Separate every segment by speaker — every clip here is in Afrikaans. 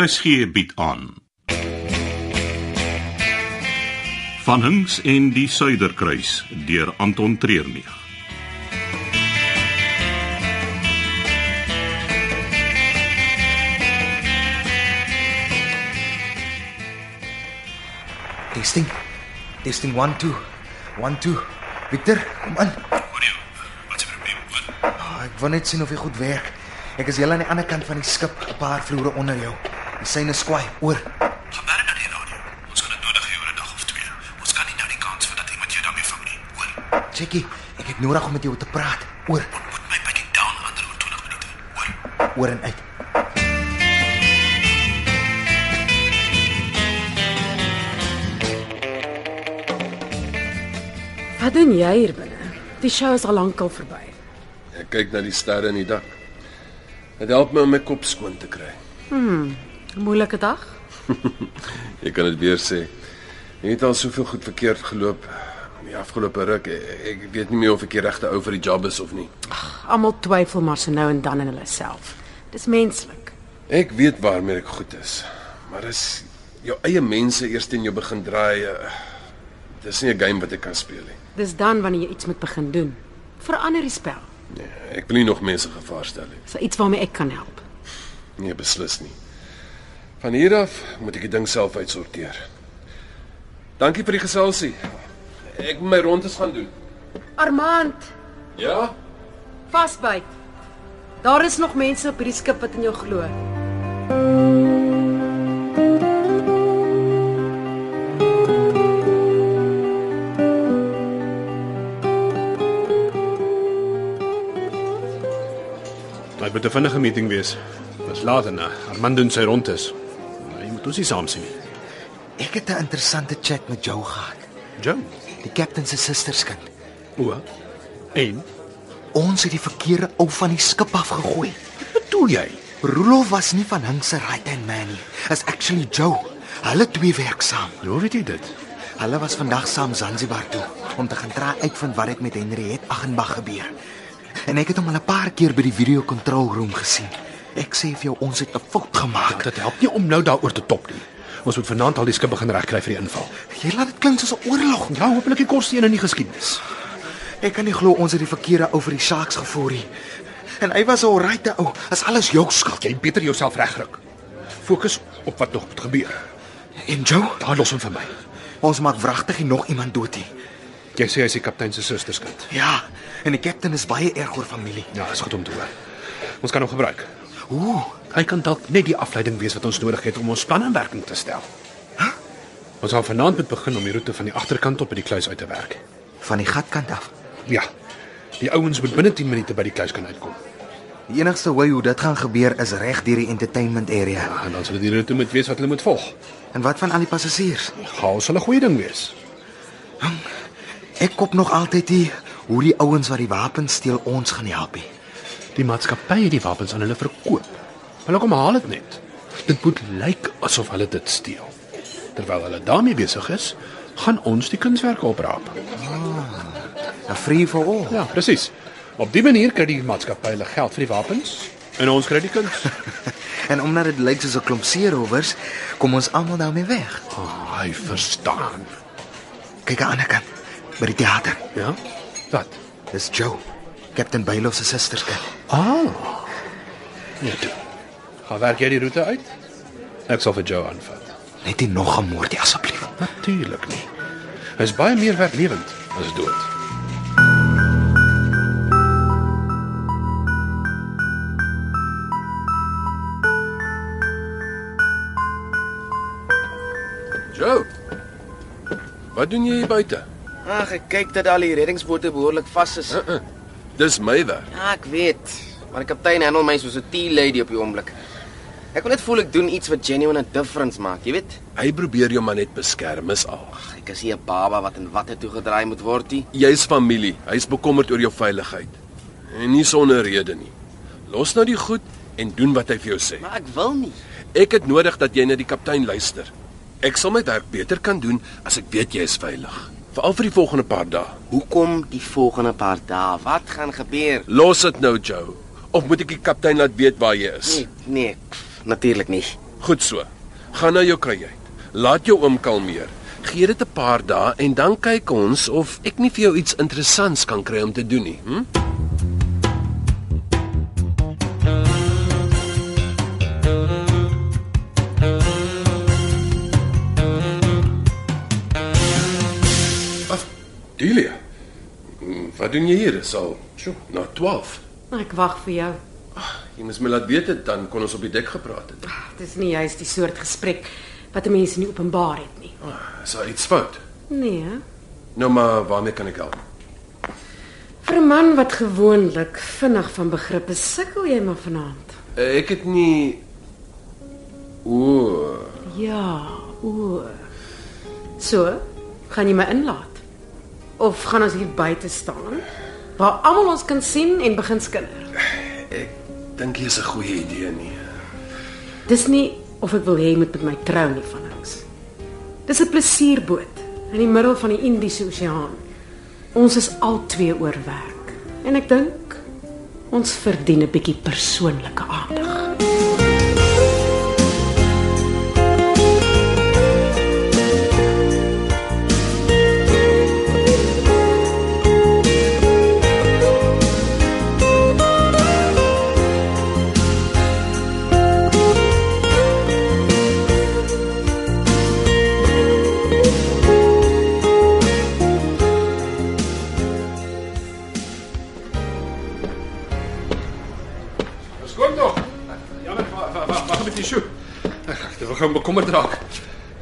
Speaker 1: RSG bied aan. Van Hinks en die Suiderkruis deur Anton Treurnig.
Speaker 2: Testing. Testing 1 2. 1 2. Victor, kom in.
Speaker 3: Audio. Wat se probleem? Wat?
Speaker 2: Ah, ek wil net sien of jy goed werk. Ek is heel aan die ander kant van die skip, 'n paar vloere onder jou. Die syne skwaai oor.
Speaker 3: Gaan werk aan die radio. Ons gaan dit nodig hê oor 'n dag of twee. Ons kan nie nou die kans vat dat iemand jou daarmee vang nie. Hoor,
Speaker 2: Checkie, ek het nodig om met jou te praat oor
Speaker 3: moet my pakkie down ander oor 20 minute. Hoor.
Speaker 2: oor en uit.
Speaker 4: Wat doen jy hier binne? Die show is al lankal verby.
Speaker 5: Ek kyk na die sterre in die dak. Dit help my om my kop skoon te kry.
Speaker 4: 'n Moeilike dag?
Speaker 5: Jy kan dit weer sê. Jy het al soveel goed verkeerd geloop die afgelope ruk. e-, Ek ek weet nie meer of ek die regte ou vir die job is of nie.
Speaker 4: Almal twyfel maar so nou en dan aan hulle self. Dis menslik.
Speaker 5: Ek weet waarmee ek goed is, maar as jou eie mense eers teen jou begin draai, eh, dis nie 'n game wat ek kan speel nie.
Speaker 4: Dis dan wanneer jy iets moet begin doen. Verander die spel.
Speaker 5: Nee, ek wil nie nog mense gevaar stel nie.
Speaker 4: Dis so iets waarmee ek kan help.
Speaker 5: Nee, beslis nie. Van hier af moet ek die ding self uitsorteer. Dankie vir die geselsie. Ek moet my rondes gaan doen.
Speaker 4: Armand,
Speaker 5: Ja?
Speaker 4: vasbyt. Daar is nog mense op hierdie skip wat in jou glo.
Speaker 6: Dit moet 'n vinnige meeting wees. Dis laat en eh, Armand doen sy rondes. Nou, Jy moet ons nie saam sien nie.
Speaker 2: Ek het 'n interessante chat met jou gehad.
Speaker 6: Joe.
Speaker 2: Die kaptein se susterskind.
Speaker 6: O. En
Speaker 2: Ons het die verkeerde ou van die skip afgegooi.
Speaker 6: bedoel jy?
Speaker 2: Roelof was nie van Hink se right-hand man nie. Is actually Joe. Hulle twee werk saam.
Speaker 6: Hoe weet jy dit?
Speaker 2: Hulle was vandag saam Zanzibar toe om te gaan traai uitvind wat het met Henriette Aghenbach gebeur. En ek het hom al 'n paar keer by die video control room gesien. Ek sê vir jou ons het 'n fout
Speaker 6: Ag,
Speaker 2: gemaak.
Speaker 6: dit help nie om nou daaroor te top nie. Ons moet vanaand al die skip begin regkry vir die inval.
Speaker 2: Jy laat dit klink soos 'n oorlog.
Speaker 6: Ja, hopelik die kortste een in die geskiedenis.
Speaker 2: Ek kan nie glo ons het die verkeerde ou vir die Sharks gevoer nie. En hy was 'n alrigte ou. As alles jou skuld.
Speaker 6: Jy beter jouself regryk. Fokus op wat nog moet gebeur.
Speaker 2: En Joe,
Speaker 6: Daar los hom vir my.
Speaker 2: ons maak wragtig nie nog iemand dood nie.
Speaker 6: Jy sê hy's die kaptein se susterskind.
Speaker 2: Ja, en die kaptein is baie erg oor familie.
Speaker 6: Ja, dis goed om te hoor. Ons kan hom gebruik.
Speaker 2: Ooh,
Speaker 6: Hy kan dalk net die afleiding wees wat ons nodig het om ons plan in werking te stel. Ons gaan vanaand moet begin om die roete van die agterkant op by die kluis uit te werk.
Speaker 2: van die gatkant af.
Speaker 6: Ja. Die ouens moet binne 10 minute by die kluis kan uitkom.
Speaker 2: Die enigste way hoe dit gaan gebeur is reg deur die entertainment area.
Speaker 6: Ja, En dan sal dit die roete moet wees wat hulle moet volg.
Speaker 2: En wat van al die passasiers?
Speaker 6: Chaos sal 'n goeie ding wees.
Speaker 2: Ek kop nog altyd die hoe die ouens wat die wapens steel ons gaan help. hê.
Speaker 6: Die maatskappy het die wapens aan hulle verkoop. Hulle kom haal dit net. Dit moet lyk asof hulle dit steel. Terwyl hulle daarmee besig is, gaan ons die kunswerke opraap.
Speaker 2: 'n Free for all.
Speaker 6: Ja, presies. Op dié manier kry die maatskappy hulle geld vir die wapens en ons kry die kuns.
Speaker 2: En omdat dit lyk soos 'n klomp seerowers, kom ons almal daarmee weg.
Speaker 6: Ah, hy verstaan.
Speaker 2: Kyk aan die ander kant by die teater.
Speaker 6: Ja? Wat?
Speaker 2: Dis Joe, Captain Bylof se susterskind.
Speaker 6: Ah. Net. Ja, Gaan werk jy die roete uit? Ek sal vir Joe aanvat.
Speaker 2: Net nie nog 'n moordie asseblief.
Speaker 6: Natuurlik nie. Hy's baie meer werklewend as dood.
Speaker 5: Joe. Wat doen jy hier buite?
Speaker 7: Ag, ek kyk Ah, dat al die reddingsbote behoorlik vas is.
Speaker 5: Dis my werk.
Speaker 7: Ja, ek weet. Maar die kaptein handel my soos 'n tea lady op die oomblik. Ek wil net voel ek doen iets wat genuine 'n difference maak, jy weet?
Speaker 5: Hy probeer jou maar net beskerm, is al.
Speaker 7: Ag, ek is nie 'n baba wat in watte toegedraai moet word nie.
Speaker 5: Jy's familie. Hy's bekommerd oor jou veiligheid. En nie sonder rede nie. Los nou die goed en doen wat hy vir jou sê.
Speaker 7: Maar ek wil nie.
Speaker 5: Ek het nodig dat jy na die kaptein luister. Ek sal my werk beter kan doen as ek weet jy is veilig. Veral vir die volgende paar dae.
Speaker 7: Hoekom die volgende paar dae? Wat gaan gebeur?
Speaker 5: Los dit nou, Joe. Of moet ek die kaptein laat weet waar jy is?
Speaker 7: Nee, nee, natuurlik nie.
Speaker 5: Goed so. Gaan na jou kajuit. Laat jou oom kalmeer. Gee dit 'n paar dae en dan kyk ons of ek nie vir jou iets interessants kan kry om te doen nie. Hm? Af, Delia. hm, Wat doen jy hier? Dis al, sjoe, na 12.
Speaker 4: Ek wag vir jou.
Speaker 5: Jy moes my laat weet het, dan kon ons op die dek gepraat het.
Speaker 4: Dit is nie juist die soort gesprek wat 'n mens nie openbaar het nie.
Speaker 5: Is daar iets fout?
Speaker 4: Nee. hè?
Speaker 5: Nou maar, waarmee kan ek help?
Speaker 4: Vir 'n man wat gewoonlik vinnig van begrip is, sukkel jy maar vanaand.
Speaker 5: Eh, Ek het nie O,
Speaker 4: Ja, o. So, gaan jy my inlaat? Of gaan ons hier buite staan waar almal ons kan sien en begin skinder?
Speaker 5: ek dink jy's 'n goeie idee nie.
Speaker 4: Dis nie of ek wil hê jy moet met my trou nie van niks. Dis 'n plesierboot in die middel van die Indiese Oseaan. Ons is al twee oorwerk en ek dink ons verdien 'n bietjie persoonlike aandag.
Speaker 5: Ons kom tog. Jammer, wag met die sjoe. Ag, dit gaan bekommerd raak.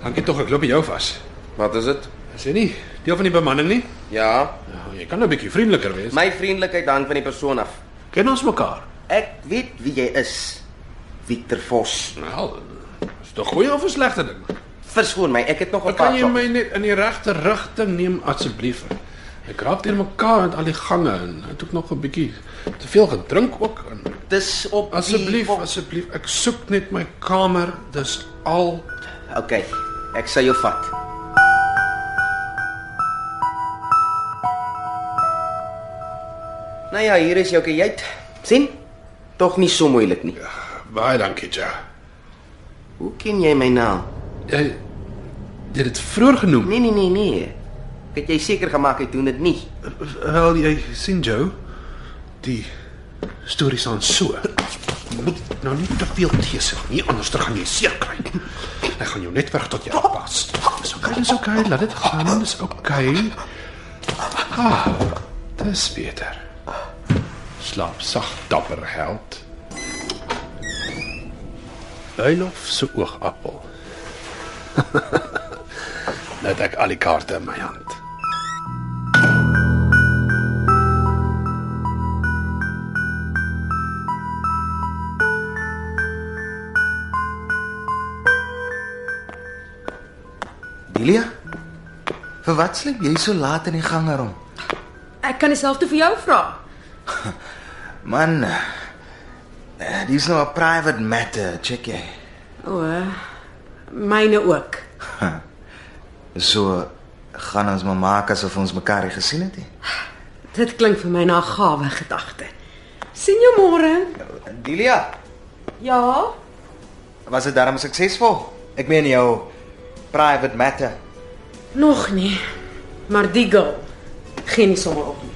Speaker 6: Dankie tog, ek loop by jou vas.
Speaker 7: Wat is dit?
Speaker 6: Is jy nie deel van die bemanning nie?
Speaker 7: Ja,
Speaker 6: Nou, jy kan 'n bietjie vriendeliker wees.
Speaker 7: my vriendelikheid hang van die persoon af.
Speaker 6: Ken ons mekaar?
Speaker 7: Ek weet wie jy is. Victor Vos.
Speaker 6: Wel, Nou, is dit 'n goeie of 'n slegte ding?
Speaker 7: Verskoon my, ek het nog 'n
Speaker 6: Kan
Speaker 7: paar
Speaker 6: jy
Speaker 7: sakke.
Speaker 6: my net in die regte rigting neem asseblief? Ek raak teen mekaar met al die gange en het ook nog 'n bietjie te veel gedrink ook. En
Speaker 7: Dis op die
Speaker 6: asseblief,
Speaker 7: vol-
Speaker 6: asseblief, ek soek net my kamer. Dis al.
Speaker 7: Okay, ek sal jou vat. Nou ja, hier is jou kajuit. sien? Tog nie so moeilik nie.
Speaker 6: Ja. Ah, Baie dankie, Ja.
Speaker 7: Hoe ken jy my naam?
Speaker 6: Jy jy het Eh, dit vroeër genoem.
Speaker 7: Nee nee nee nee. Ek het jy seker gemaak hy doen dit nie.
Speaker 6: Wel, jy sien Joe, die stories aan so. Moet nou nie te veel teese nie, anders dan gaan jy seer kry. Ek gaan jou net weg tot jou pas. Dis okay, dis okay, laat dit gaan, dis okay. Ah, dis beter. Slaap sag, dapper held. Eilof se oogappel. Net ek al die kaarte in my hand.
Speaker 2: Delia? Vir wat sleep jy so laat in die gang rond?
Speaker 4: Ek kan dieselfde vir jou vra.
Speaker 2: Man, eh, dis nou 'n private matter, check jy.
Speaker 4: O, myne ook.
Speaker 2: So gaan ons maar maak asof ons mekaar nie gesien het nie.
Speaker 4: Dit klink vir my na 'n gawe gedagte. Sien jou môre.
Speaker 2: Delia,
Speaker 4: Ja,
Speaker 2: was dit darm suksesvol? Ek meen jou private matter.
Speaker 4: nog nie. Maar die girl geen nie sommer op nie.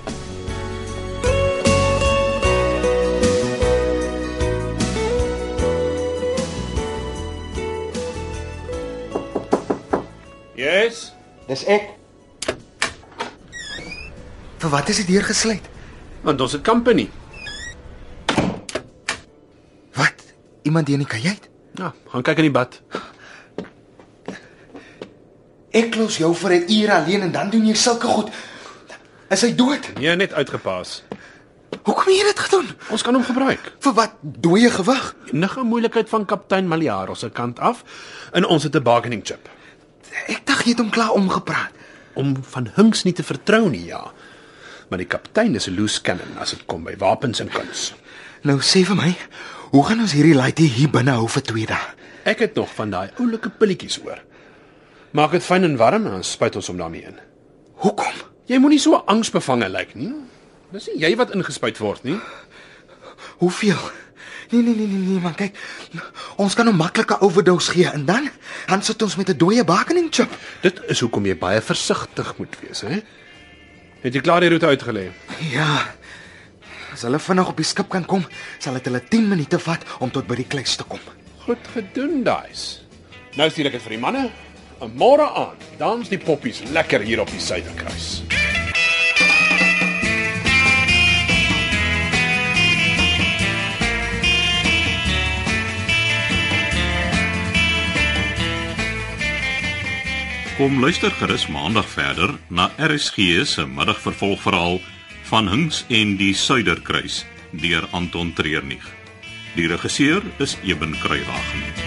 Speaker 1: Yes.
Speaker 7: Dis ek.
Speaker 2: Vir wat is die deur gesluit?
Speaker 6: Want ons het company.
Speaker 2: Wat? Iemand hier in die kajuit?
Speaker 6: Ja, gaan kyk in die bad.
Speaker 2: Ek los jou vir 'n uur alleen en dan doen jy sulke goed. Is hy dood?
Speaker 6: Nee, net uitgepas.
Speaker 2: Hoekom het jy dit gedoen?
Speaker 6: Ons kan hom gebruik.
Speaker 2: Vir wat? Dooie gewig?
Speaker 6: Enige moeilikheid van kaptein Maliaro se kant af en ons het 'n bargaining chip.
Speaker 2: Ek dink jy het hom klaar omgepraat.
Speaker 6: Om van Hinks nie te vertrou nie, ja. Maar die kaptein is 'n loose cannon as dit kom by wapens en kuns.
Speaker 2: Nou sê vir my, hoe gaan ons hierdie laaitie hier binne hou vir 2 dae?
Speaker 6: Ek het nog van daai oulike pilletjies oor. Maak dit fyn en warm en dan spuit ons hom daarmee in.
Speaker 2: Hoekom?
Speaker 6: Jy moenie so angsbevange lyk nie. Dis nie jy wat ingespuit word nie.
Speaker 2: Hoeveel? Nee nee nee nee nee man, kyk. Ons kan hom maklike overdose gee en dan dan sit ons met 'n dooie bargaining chip.
Speaker 8: Dit is hoekom jy baie versigtig moet wees, hè?
Speaker 6: Het jy klaar die roete uitgelê?
Speaker 2: Ja. As hulle vinnig op die skip kan kom, sal dit hulle 10 minute vat om tot by die kluis te kom.
Speaker 6: Goed gedoen, daai's. Nou stuur ek dit vir die manne. En môre aan, dans die poppies lekker hier op die suiderkruis.
Speaker 1: Kom luister gerus maandag verder na RSG se middagvervolgverhaal van Hinks en die Suiderkruis deur Anton Treurnig. Die regisseur is Eben Kruiwagen.